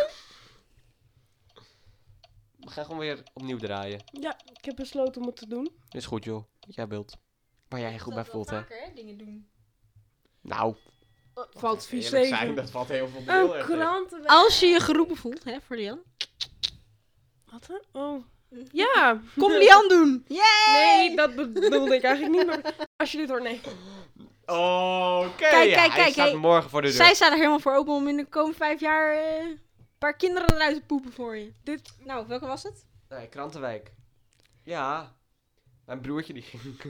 S2: We gaan gewoon weer opnieuw draaien.
S1: Ja, ik heb besloten om het te doen.
S2: Is goed, joh. Jij wilt. Waar jij je goed bij voelt, hè?
S3: dingen doen.
S2: Nou,
S1: Valt vies
S2: eerlijk zijn,
S1: tegen.
S2: dat valt heel veel heel
S1: Een
S2: erg tegen.
S1: kranten...
S3: Als je je geroepen voelt, hè, voor Lian.
S1: Wat? hè? Oh. Ja.
S3: Kom Lian doen!
S1: Nee, dat bedoelde ik eigenlijk niet. Maar als je dit hoort, nee.
S2: Oké,
S3: Kijk,
S2: ja,
S3: kijk,
S2: hij
S3: kijk,
S2: staat
S3: hey.
S2: morgen voor de deur.
S3: Zij staan er helemaal voor open om in de komende vijf jaar eh, een paar kinderen eruit te poepen voor je.
S1: Dit,
S3: Nou, welke was het?
S2: Nee, Krantenwijk. Ja. Mijn broertje die ging...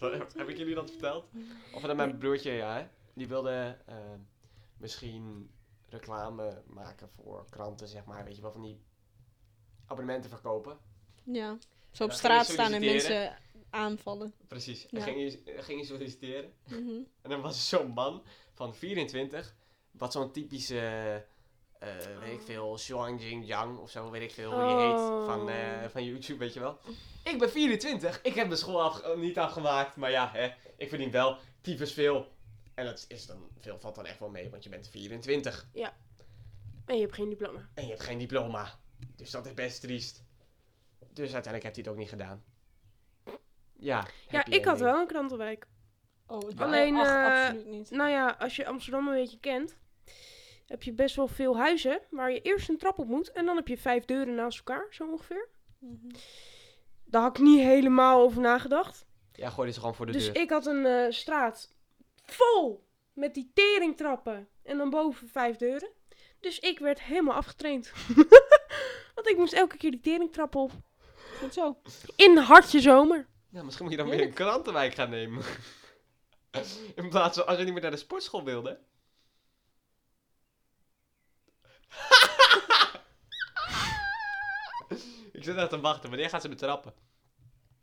S2: heb, heb ik jullie dat verteld? Of dat mijn broertje, ja. hè? Die wilde eh, misschien reclame maken voor kranten, zeg maar. Weet je wel, van die abonnementen verkopen.
S3: Ja.
S2: dan
S3: Zo op
S2: ging
S3: straat
S2: je
S3: staan en
S2: solliciteren.
S3: mensen aanvallen.
S2: Precies. En
S3: Ja.
S2: ging je, ging je solliciteren.
S3: Mhm.
S2: En dan was er zo'n man van 24, wat zo'n typische, eh, weet ik veel, Zhuang Jingyang of zo, weet ik veel hoe die heet, van,
S1: Oh.
S2: eh, van YouTube, weet je wel. Ik ben 24, ik heb de school af, eh, niet afgemaakt, maar ja, hè, ik verdien wel tyfus veel. En dat is dan, veel valt dan echt wel mee, want je bent 24
S1: En je hebt geen diploma.
S2: en je hebt geen diploma. Dus dat is best triest. Dus uiteindelijk heeft hij het ook niet gedaan. Ja,
S1: Ja,
S2: happy
S1: ik had
S2: ending.
S1: wel een krantenwijk.
S3: Oh, het-
S1: Alleen,
S3: ach,
S1: eh,
S3: absoluut niet.
S1: Nou ja, als je Amsterdam een beetje kent, heb je best wel veel huizen waar je eerst een trap op moet. En dan heb je vijf deuren naast elkaar, zo ongeveer.
S3: Mhm.
S1: Daar had ik niet helemaal over nagedacht.
S2: Ja, gooi dit gewoon voor de
S1: dus
S2: deur.
S1: ik had een eh, straat vol met die teringtrappen. En dan boven vijf deuren. Dus ik werd helemaal afgetraind. Want ik moest elke keer die teringtrappen op.
S3: Goed zo.
S1: In de hartje zomer.
S2: Nou, misschien moet je dan weer een krantenwijk gaan nemen. In plaats van als je niet meer naar de sportschool wilde. ik zit echt te wachten. Wanneer gaan ze me trappen?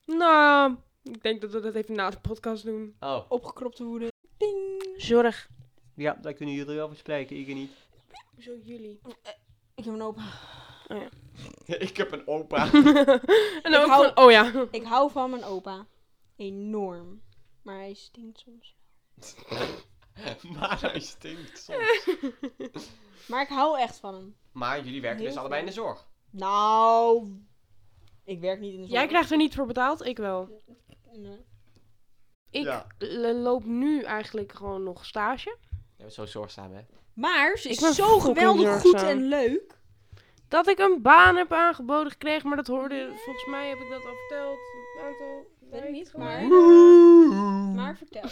S1: Nou, ik denk dat we dat even na de podcast doen.
S2: Oh.
S3: Opgekropte woede. Ding.
S1: Zorg.
S2: Ja, daar kunnen jullie over spreken. Ik niet.
S1: Zo jullie.
S3: Ik heb een opa.
S2: ik heb een opa.
S1: en dan ook
S3: hou-
S1: van, oh ja.
S3: Ik hou van mijn opa. Enorm. Maar hij stinkt soms.
S2: maar hij stinkt soms.
S3: Maar ik hou echt van hem.
S2: Maar jullie werken
S3: Heel
S2: dus allebei in de zorg.
S3: Nou, ik werk niet in de zorg.
S1: Jij krijgt er niet voor betaald, ik wel.
S3: Nee.
S1: Ik
S2: Ja.
S1: l- loop nu eigenlijk gewoon nog stage.
S2: Ja, zo zorgzaam, hè?
S3: Maar ze
S1: Ik
S3: is
S1: ben
S3: zo
S1: fucking
S3: geweldig goed
S1: zorgzaam.
S3: en leuk.
S1: Dat ik een baan heb aangeboden gekregen, maar dat hoorde, volgens mij heb ik dat al verteld. Een aantal
S3: Weet ik niet,
S1: gewoon.
S3: maar, maar vertel.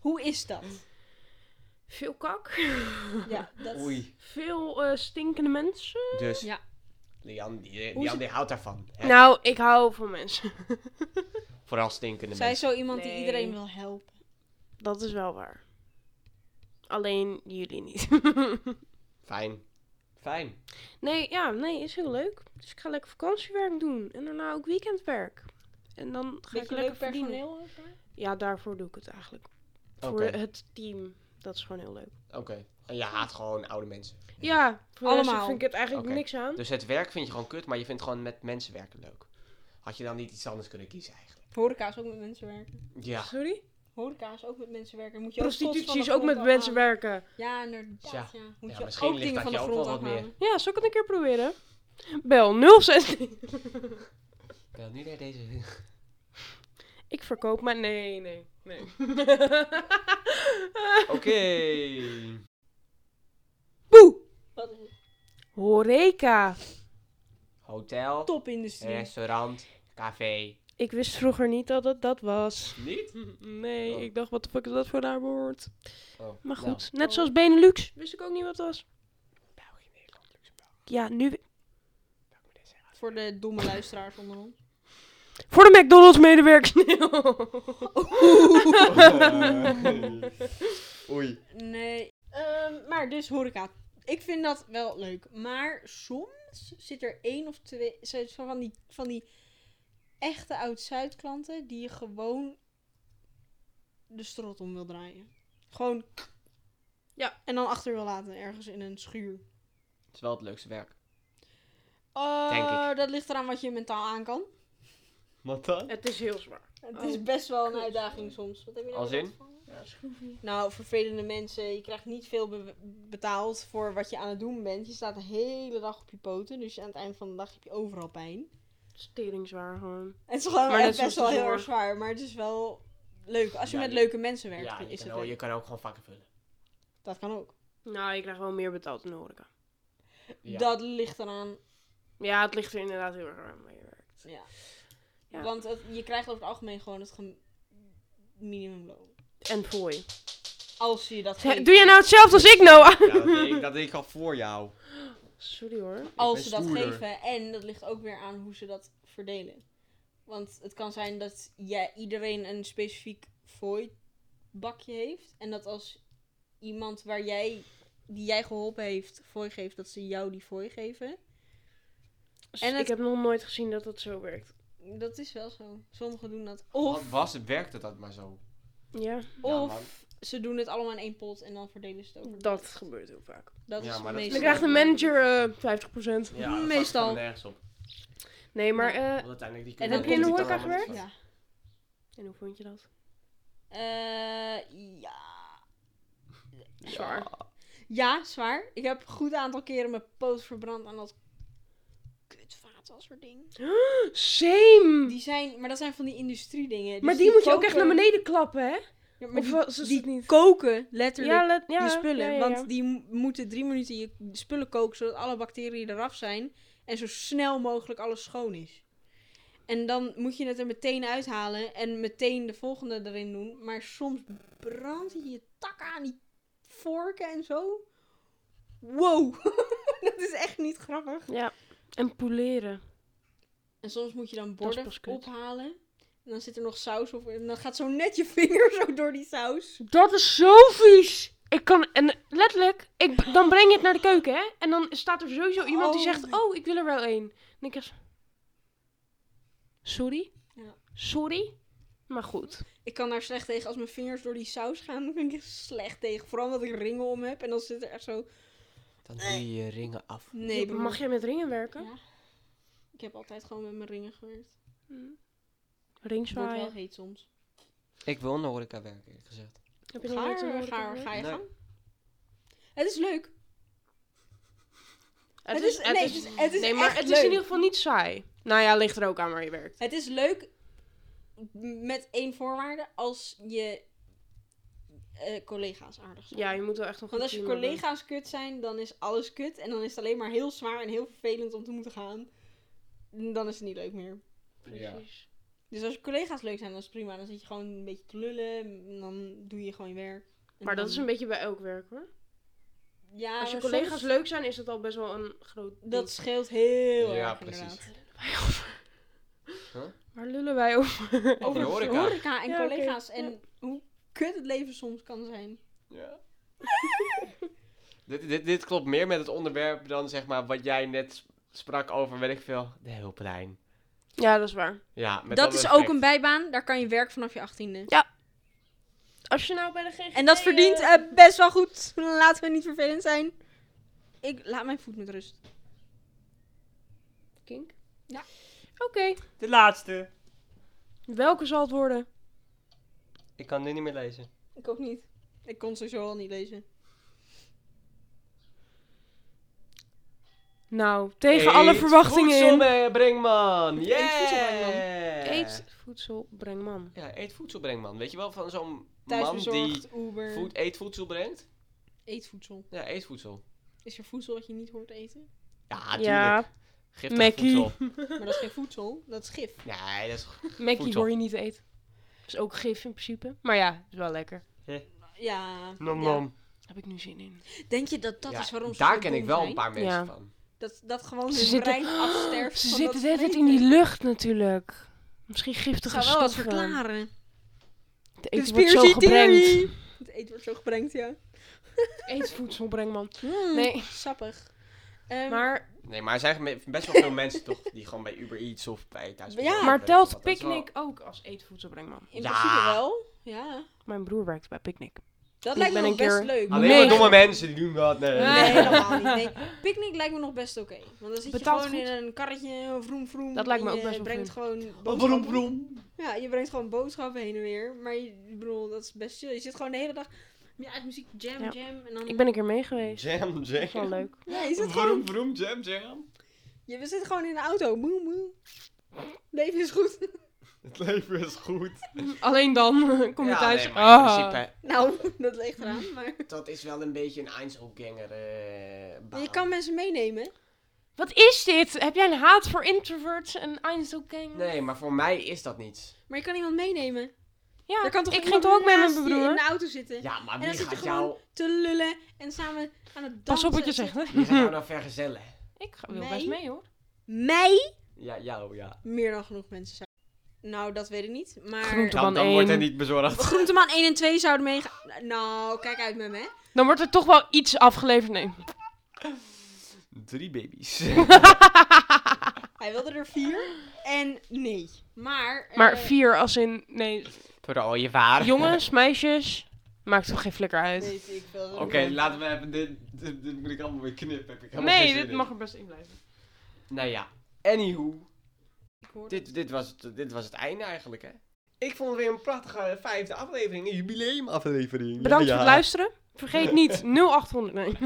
S3: Hoe is dat?
S1: Veel kak.
S3: Ja, dat
S2: Oei.
S1: Veel eh, stinkende mensen.
S2: Dus.
S3: Ja.
S2: Lian, die,
S3: Hoe
S2: Lian
S3: ze-
S2: die houdt daarvan. hè?
S1: Nou, ik hou van mensen.
S2: Vooral stinkende
S3: Nou- Zij is
S2: mensen.
S3: zo iemand die
S1: Nee.
S3: iedereen wil helpen.
S1: Dat is wel waar. Alleen jullie niet.
S2: Fijn. Fijn.
S1: nee, ja, nee, is heel leuk. Dus ik ga lekker vakantiewerk doen. En daarna ook weekendwerk. En dan ga ik
S3: Beetje
S1: lekker
S3: leuk
S1: verdienen.
S3: personeel. ook, maar-
S1: Ja, daarvoor doe ik het eigenlijk.
S2: Oké.
S1: Voor het team. Dat is gewoon heel leuk.
S2: Oké. En je haat gewoon oude mensen.
S1: Ja, voor de rest
S3: Allemaal.
S1: vind ik het eigenlijk
S2: Oké.
S1: niks aan.
S2: Dus het werk vind je gewoon kut, maar je vindt gewoon met mensen werken leuk. Had je dan niet iets anders kunnen kiezen eigenlijk?
S3: Horeca is ook met mensen werken.
S2: Ja.
S1: Sorry?
S3: Horeca is ook met mensen werken. Moet je ook trots van
S1: Prostitutie
S3: de
S1: is ook
S3: grond
S1: met mensen
S3: afhalen.
S1: werken.
S3: Ja, inderdaad.
S2: Ja.
S3: Ja. Moet
S2: Ja,
S3: je
S2: misschien
S3: ook
S2: ligt
S3: dingen
S2: dat
S3: van de
S2: jou ook
S3: grond
S2: wel wat meer.
S3: afhalen.
S1: Ja, zal ik het een keer proberen? Bel 06.
S2: Wel, nu naar deze.
S1: Ik verkoop maar... Nee, nee, nee.
S2: Oké.
S1: Boe!
S3: Wat is het?
S1: Horeca.
S2: Hotel,
S3: Topindustrie.
S2: restaurant, café.
S1: Ik wist vroeger niet dat het dat was.
S2: Niet?
S1: Nee,
S2: Oh.
S1: ik dacht, wat de fuck is dat voor daar woord?
S2: Oh,
S1: Maar
S2: nou.
S1: goed, net
S3: Oh.
S1: zoals Benelux. Wist ik ook niet wat het was.
S2: België, Nederland, Luxemburg.
S1: Ja, nu...
S2: Welke moet dit zeggen?
S3: Voor de domme luisteraars onder ons.
S1: Voor de McDonald's medewerkers.
S2: Oei.
S3: Nee. Ehm, maar dus horeca. Ik vind dat wel leuk. Maar soms zit er één of twee zo- zo van die, van die echte oud-Zuid klanten die je gewoon de strot om wil draaien. Gewoon.
S1: Ja.
S3: En dan achter wil laten ergens in een schuur.
S2: Het is wel het leukste werk.
S3: Eh,
S2: Denk
S3: Dat ligt eraan wat je mentaal aan kan.
S2: Wat dan?
S1: het is heel zwaar.
S3: Het
S1: Oh,
S3: is best wel een
S1: kut.
S3: uitdaging soms. Wat heb je nou
S2: Als
S3: weer
S2: in?
S3: last van? Nou, vervelende mensen. Je krijgt niet veel be- betaald voor wat je aan het doen bent. Je staat de hele dag op je poten. Dus aan het eind van de dag heb je overal pijn.
S1: Stering zwaar gewoon.
S3: Het is gewoon
S1: Maar
S3: echt
S1: dat is
S3: best
S1: soms
S3: wel
S1: de
S3: heel
S1: zorg.
S3: erg zwaar. Maar het is wel leuk. Als je
S2: Ja,
S3: met
S2: je-
S3: leuke mensen werkt,
S2: Ja,
S3: dan
S2: je
S3: is
S2: kan,
S3: het
S2: ook,
S3: leuk.
S2: je kan ook gewoon vakken vullen.
S3: Dat kan ook.
S1: Nou, je krijgt wel meer betaald in de horeca.
S2: Ja.
S3: Dat ligt eraan.
S1: Ja, het ligt er inderdaad heel erg aan waar je werkt.
S3: Ja.
S1: Ja.
S3: Want het- je krijgt over het algemeen gewoon het gem- minimumloon.
S1: En fooi.
S3: Als je dat
S1: Zeg,
S3: geeft.
S1: Doe jij nou hetzelfde als ik, Noah?
S2: Ja, dat, deed ik, dat deed ik al voor jou.
S1: Sorry hoor.
S3: Als
S2: ben
S3: ze dat
S2: stoerder.
S3: geven. En dat ligt ook weer aan hoe ze dat verdelen. Want het kan zijn dat ja, iedereen een specifiek bakje heeft. En dat als iemand waar jij, die jij geholpen heeft fooi geeft, dat ze jou die fooi geven.
S1: Dus
S3: En het-
S1: Ik heb nog nooit gezien dat dat zo werkt.
S3: Dat is wel zo. Sommigen doen dat.
S2: Wat
S3: Of,
S2: was het, werkte dat maar zo?
S1: Ja,
S2: Oh, Ja,
S3: of
S2: maar-
S3: ze doen het allemaal in één pot en dan verdelen ze het over.
S1: dat gebeurt heel vaak.
S3: Dat
S2: Ja,
S3: is
S2: maar dat-
S3: meestal.
S1: Dan krijgt een manager eh 50%.
S5: Ja, dat slaat
S3: Meestal.
S5: gewoon nergens op.
S1: Nee, maar... eh,
S5: Want uiteindelijk die
S3: En
S1: heb
S3: dan
S1: je in de
S3: komt-
S1: horeca gewerkt?
S3: Ja.
S1: en hoe vond je dat?
S3: Eh, ja.
S1: Zwaar.
S3: Ja, zwaar. Ik heb een goed aantal keren mijn poot verbrand aan dat kutvaatwasserding.
S1: Hm. Same!
S3: Die zijn, maar dat zijn van die industriedingen. Dus
S1: maar die, moet je ook
S3: koken-
S1: echt naar beneden klappen, hè?
S3: Ja, maar
S1: Of
S3: die,
S1: wel, ze
S3: die
S1: die niet.
S3: koken letterlijk
S1: let- ja,
S3: je spullen.
S1: ja, ja, ja.
S3: Want die m- moeten drie minuten je spullen koken zodat alle bacteriën eraf zijn. En zo snel mogelijk alles schoon is. En dan moet je het er meteen uithalen en meteen de volgende erin doen. Maar soms brandt hij je takken aan die vorken en zo. Wow, dat is echt niet grappig.
S1: Ja. En poleren.
S3: En soms moet je dan
S1: is
S3: borden
S1: pas kut.
S3: ophalen. En dan zit er nog saus op. En dan gaat zo net je vinger zo door die saus.
S1: Dat is zo vies! Ik kan, en letterlijk, ik, b- dan breng je het naar de keuken, hè? En dan staat er sowieso iemand die
S3: Oh
S1: zegt, oh, ik wil er wel één. En ik zeg, sorry?
S3: Ja.
S1: Sorry? Maar goed.
S3: Ik kan daar slecht tegen. Als mijn vingers door die saus gaan, dan kan ik echt slecht tegen. Vooral omdat ik ringen om heb. En dan zit er echt zo...
S5: Dan doe je je ringen af.
S3: Nee, broer.
S1: Mag jij met ringen werken?
S3: Ja. Ik heb altijd gewoon met mijn ringen gewerkt.
S1: Hm.
S3: Het wordt wel
S1: Ringzwaaien.
S3: heet soms.
S5: Ik wil in de horeca werken, eerlijk gezegd.
S1: Heb je nog
S3: Ga,
S1: nooit een
S3: er,
S1: horeca
S3: ga, er,
S1: gewerkt?
S3: ga je
S5: Nee.
S3: gang. Het is leuk.
S1: Het,
S3: Het
S1: is,
S3: is-
S1: het
S3: nee,
S1: is,
S3: het is- het is
S1: nee, maar
S3: echt
S1: het is
S3: leuk.
S1: in ieder geval niet saai. Nou ja, ligt er ook aan waar je werkt.
S3: Het is leuk met één voorwaarde. Als je eh, collega's aardig zijn.
S1: Ja, je moet wel echt een goed
S3: Want als je
S1: team hebben.
S3: collega's kut zijn, dan is alles kut. En dan is het alleen maar heel zwaar en heel vervelend om te moeten gaan. En Dan is het niet leuk meer.
S2: Ja.
S1: Precies.
S3: Dus als je collega's leuk zijn, dan is het prima. Dan zit je gewoon een beetje te lullen. En dan doe je gewoon je werk. En
S1: Maar dat
S3: dan-
S1: is een beetje bij elk werk hoor.
S3: Ja,
S1: Als je
S3: maar
S1: collega's
S3: soms-
S1: leuk zijn, is dat al best wel een groot. ding.
S3: Dat scheelt heel
S2: Ja,
S3: erg
S2: precies.
S3: inderdaad.
S1: Waar lullen wij over?
S3: Over
S2: de horeca.
S3: en
S1: Ja, oké.
S3: collega's. En hoe kut het leven soms kan zijn.
S2: Ja. dit, dit, dit klopt meer met het onderwerp dan zeg maar wat jij net s- sprak over, weet ik veel, de hulplijn.
S1: Ja, dat is waar.
S2: Ja, met
S3: dat
S2: alle
S3: is
S2: respect.
S3: ook een bijbaan. Daar kan je werk vanaf je achttiende.
S1: Als je nou bij de GGD...
S3: En dat
S1: eh,
S3: verdient eh, best wel goed. Laten we niet vervelend zijn. Ik laat mijn voet met rust.
S1: kink.
S3: Ja.
S1: Oké.
S5: De laatste.
S1: Welke zal het worden?
S5: Ik kan nu niet meer lezen.
S3: Ik ook niet. Ik kon sowieso al niet lezen.
S1: Nou, tegen alle
S2: Eet
S1: verwachtingen
S2: voedsel
S1: in.
S2: mee, Brengman. Yeah!
S3: voedsel, Brengman.
S1: Eet voedsel, breng man.
S2: Ja, eet voedsel, Brengman. Weet je wel van zo'n man die
S3: Thuisbezorgd, Uber,
S2: voed, eet voedsel brengt?
S3: eetvoedsel.
S2: Ja, eet voedsel.
S3: Is er voedsel wat je niet hoort eten?
S2: Ja, Ah, tuurlijk.
S1: ja,
S2: Giftig
S1: Mackie.
S2: voedsel.
S3: Maar dat is geen voedsel, dat is gif.
S2: Nee, dat is...
S1: Mackie
S2: Voedsel.
S1: hoor je niet te eten. Is ook gif in principe. Maar ja, is wel lekker.
S3: Ja.
S5: Nom
S3: ja.
S5: nom.
S1: Heb ik nu zin in.
S3: Denk je dat dat
S2: Ja,
S3: is waarom ze
S2: Daar
S3: zo
S2: ken
S3: dom
S2: ik wel
S3: zijn?
S2: een paar mensen
S1: Ja.
S2: van.
S3: Dat, dat gewoon
S1: Ze
S3: hun
S1: zitten-
S3: brein afsterft
S1: Ze
S3: van
S1: zitten
S3: dat
S1: de hele tijd in
S3: vreten.
S1: die lucht natuurlijk. Misschien
S3: Dat
S1: giftige
S3: zou wel wat
S1: stoffen.
S3: verklaren.
S1: Het eten wordt zo
S3: Conspiracy
S1: gebrengd.
S3: theory. Het eten wordt zo gebrengd, ja.
S1: Eet voedsel, breng man.
S3: Mm,
S1: Nee.
S3: Sappig. Ehm,
S1: Maar
S2: Nee, maar er zijn me- best wel veel mensen toch die gewoon bij Uber Eats of bij thuis.
S3: Ja,
S1: Maar telt Picnic ook als eetvoedselbrengman?
S3: in
S2: Ja.
S3: principe wel. Ja.
S1: Mijn broer werkt bij Picnic.
S3: Dat
S1: Ik
S3: lijkt me
S1: ben
S3: nog
S1: een keer-
S3: best leuk.
S2: Alleen
S1: Nee.
S2: maar domme mensen die doen dat. Nee.
S3: Nee,
S1: Nee.
S3: helemaal niet. Nee. Picknick lijkt me nog best oké. Want dan zit
S1: Betaalt
S3: je gewoon
S1: goed.
S3: in een karretje, vroom vroom.
S1: Dat lijkt me
S3: en
S1: ook
S3: je
S1: best wel
S3: brengt
S1: vreemd.
S3: gewoon
S2: Oh,
S3: boodschappen.
S2: broem, broem.
S3: Ja, je brengt gewoon boodschappen heen en weer. Maar je, ik bedoel, dat is best chill. Je zit gewoon de hele dag ja, het muziek jam
S1: Ja.
S3: jam. En dan...
S1: Ik ben een keer mee geweest.
S2: Jam,
S1: Dat is wel
S2: jam.
S1: leuk.
S3: Ja, je zit
S2: Vroom,
S3: gewoon,
S2: vroom, jam, jam.
S3: je, we zitten gewoon in de auto. Moe, moe. Leven is goed.
S2: Het leven is goed.
S1: Alleen dan kom je
S2: Ja,
S1: thuis.
S2: nee, maar in
S1: Ah.
S2: principe,
S3: Nou, dat ligt eraan. Maar...
S2: dat is wel een beetje een Einzelganger eh baan.
S3: Je kan mensen meenemen.
S1: Wat is dit? Heb jij een haat voor introverts en Einzelgang?
S2: Nee, maar voor mij is dat niets.
S3: Maar je kan iemand meenemen.
S1: Ja,
S3: Er kan toch
S1: ik ging
S3: iemand
S1: toch ook mee met
S3: naast Nou,
S1: mijn
S3: je in
S1: broer?
S3: de auto zitten.
S2: Ja, maar
S3: dan
S2: wie
S3: zit je
S2: gaat
S3: gewoon
S2: jou,
S3: Te lullen en samen aan het dansen.
S1: Pas op wat je zegt, hè?
S2: wie gaat jou nou vergezellen?
S1: Ik ga, wil
S3: Nee.
S1: best mee hoor.
S3: Mij?
S5: Ja, jou, ja.
S3: Meer dan genoeg mensen zijn. Nou, dat weet ik niet. Maar
S1: Groente-
S5: Dan,
S1: Dan
S5: dan wordt hij
S1: één.
S5: niet bezorgd.
S3: Groenteman 1 en 2 zouden meegaan. Nou, kijk uit met me, hè.
S1: Dan wordt er toch wel iets afgeleverd. Nee.
S5: Drie baby's.
S3: Hij wilde er vier. En nee. Maar... eh,
S1: Maar vier als in... Nee,
S2: Voor al je vader.
S1: jongens, meisjes. Maakt toch geen flikker uit.
S3: Weet ik veel.
S2: Oké, laten we even dit, dit, dit moet ik allemaal weer knippen. Heb ik helemaal geen
S1: Nee,
S2: zin
S1: dit
S2: in.
S1: mag er best in blijven.
S2: Nou ja, anywho.
S3: Ik hoor het.
S2: Dit, dit, was het, dit was het einde eigenlijk, hè? Ik vond het weer een prachtige vijfde aflevering. Een jubileumaflevering.
S1: Bedankt
S2: Ja.
S1: voor het luisteren. Vergeet niet 0800. Nee.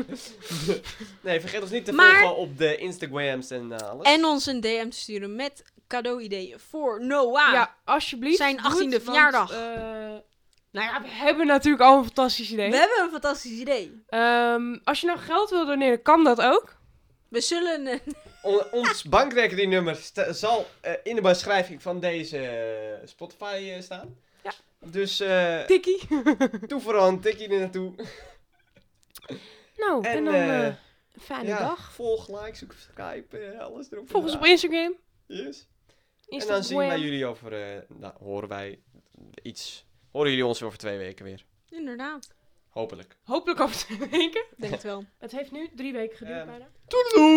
S2: Nee, vergeet ons niet te
S3: Maar-
S2: volgen op de Instagrams en eh, alles.
S3: En ons een DM te sturen met cadeau-ideeën voor Noah.
S1: Ja, alsjeblieft.
S3: Ah. Zijn
S1: doe het,
S3: 18e
S1: want,
S3: verjaardag.
S1: eh, nou ja, we hebben natuurlijk al een fantastisch idee.
S3: We hebben een fantastisch idee.
S1: Ehm, als je nou geld wil doneren, kan dat ook.
S3: We zullen... eh,
S2: On- ons bankrekeningnummer sta- zal eh, in de beschrijving van deze eh, Spotify eh, staan.
S1: Ja.
S2: Dus eh
S1: Tikkie.
S2: doe vooral een tikje er naartoe.
S1: Nou, en,
S2: En,
S1: dan
S2: eh,
S1: eh, fijne
S2: ja,
S1: dag.
S2: Volg, like, subscribe, eh, alles erop.
S1: Volg ons op
S2: en eraan.
S1: Instagram.
S2: Yes. En
S1: Instagram.
S2: dan zien wij jullie over, eh, nou, horen wij iets. Horen jullie ons over twee weken weer.
S3: Inderdaad.
S2: Hopelijk.
S1: Hopelijk over twee weken.
S3: Ik Denk het wel.
S1: Het heeft nu drie weken geduurd
S2: Ja.
S1: bijna.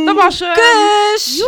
S1: Dat was... eh
S3: Kus!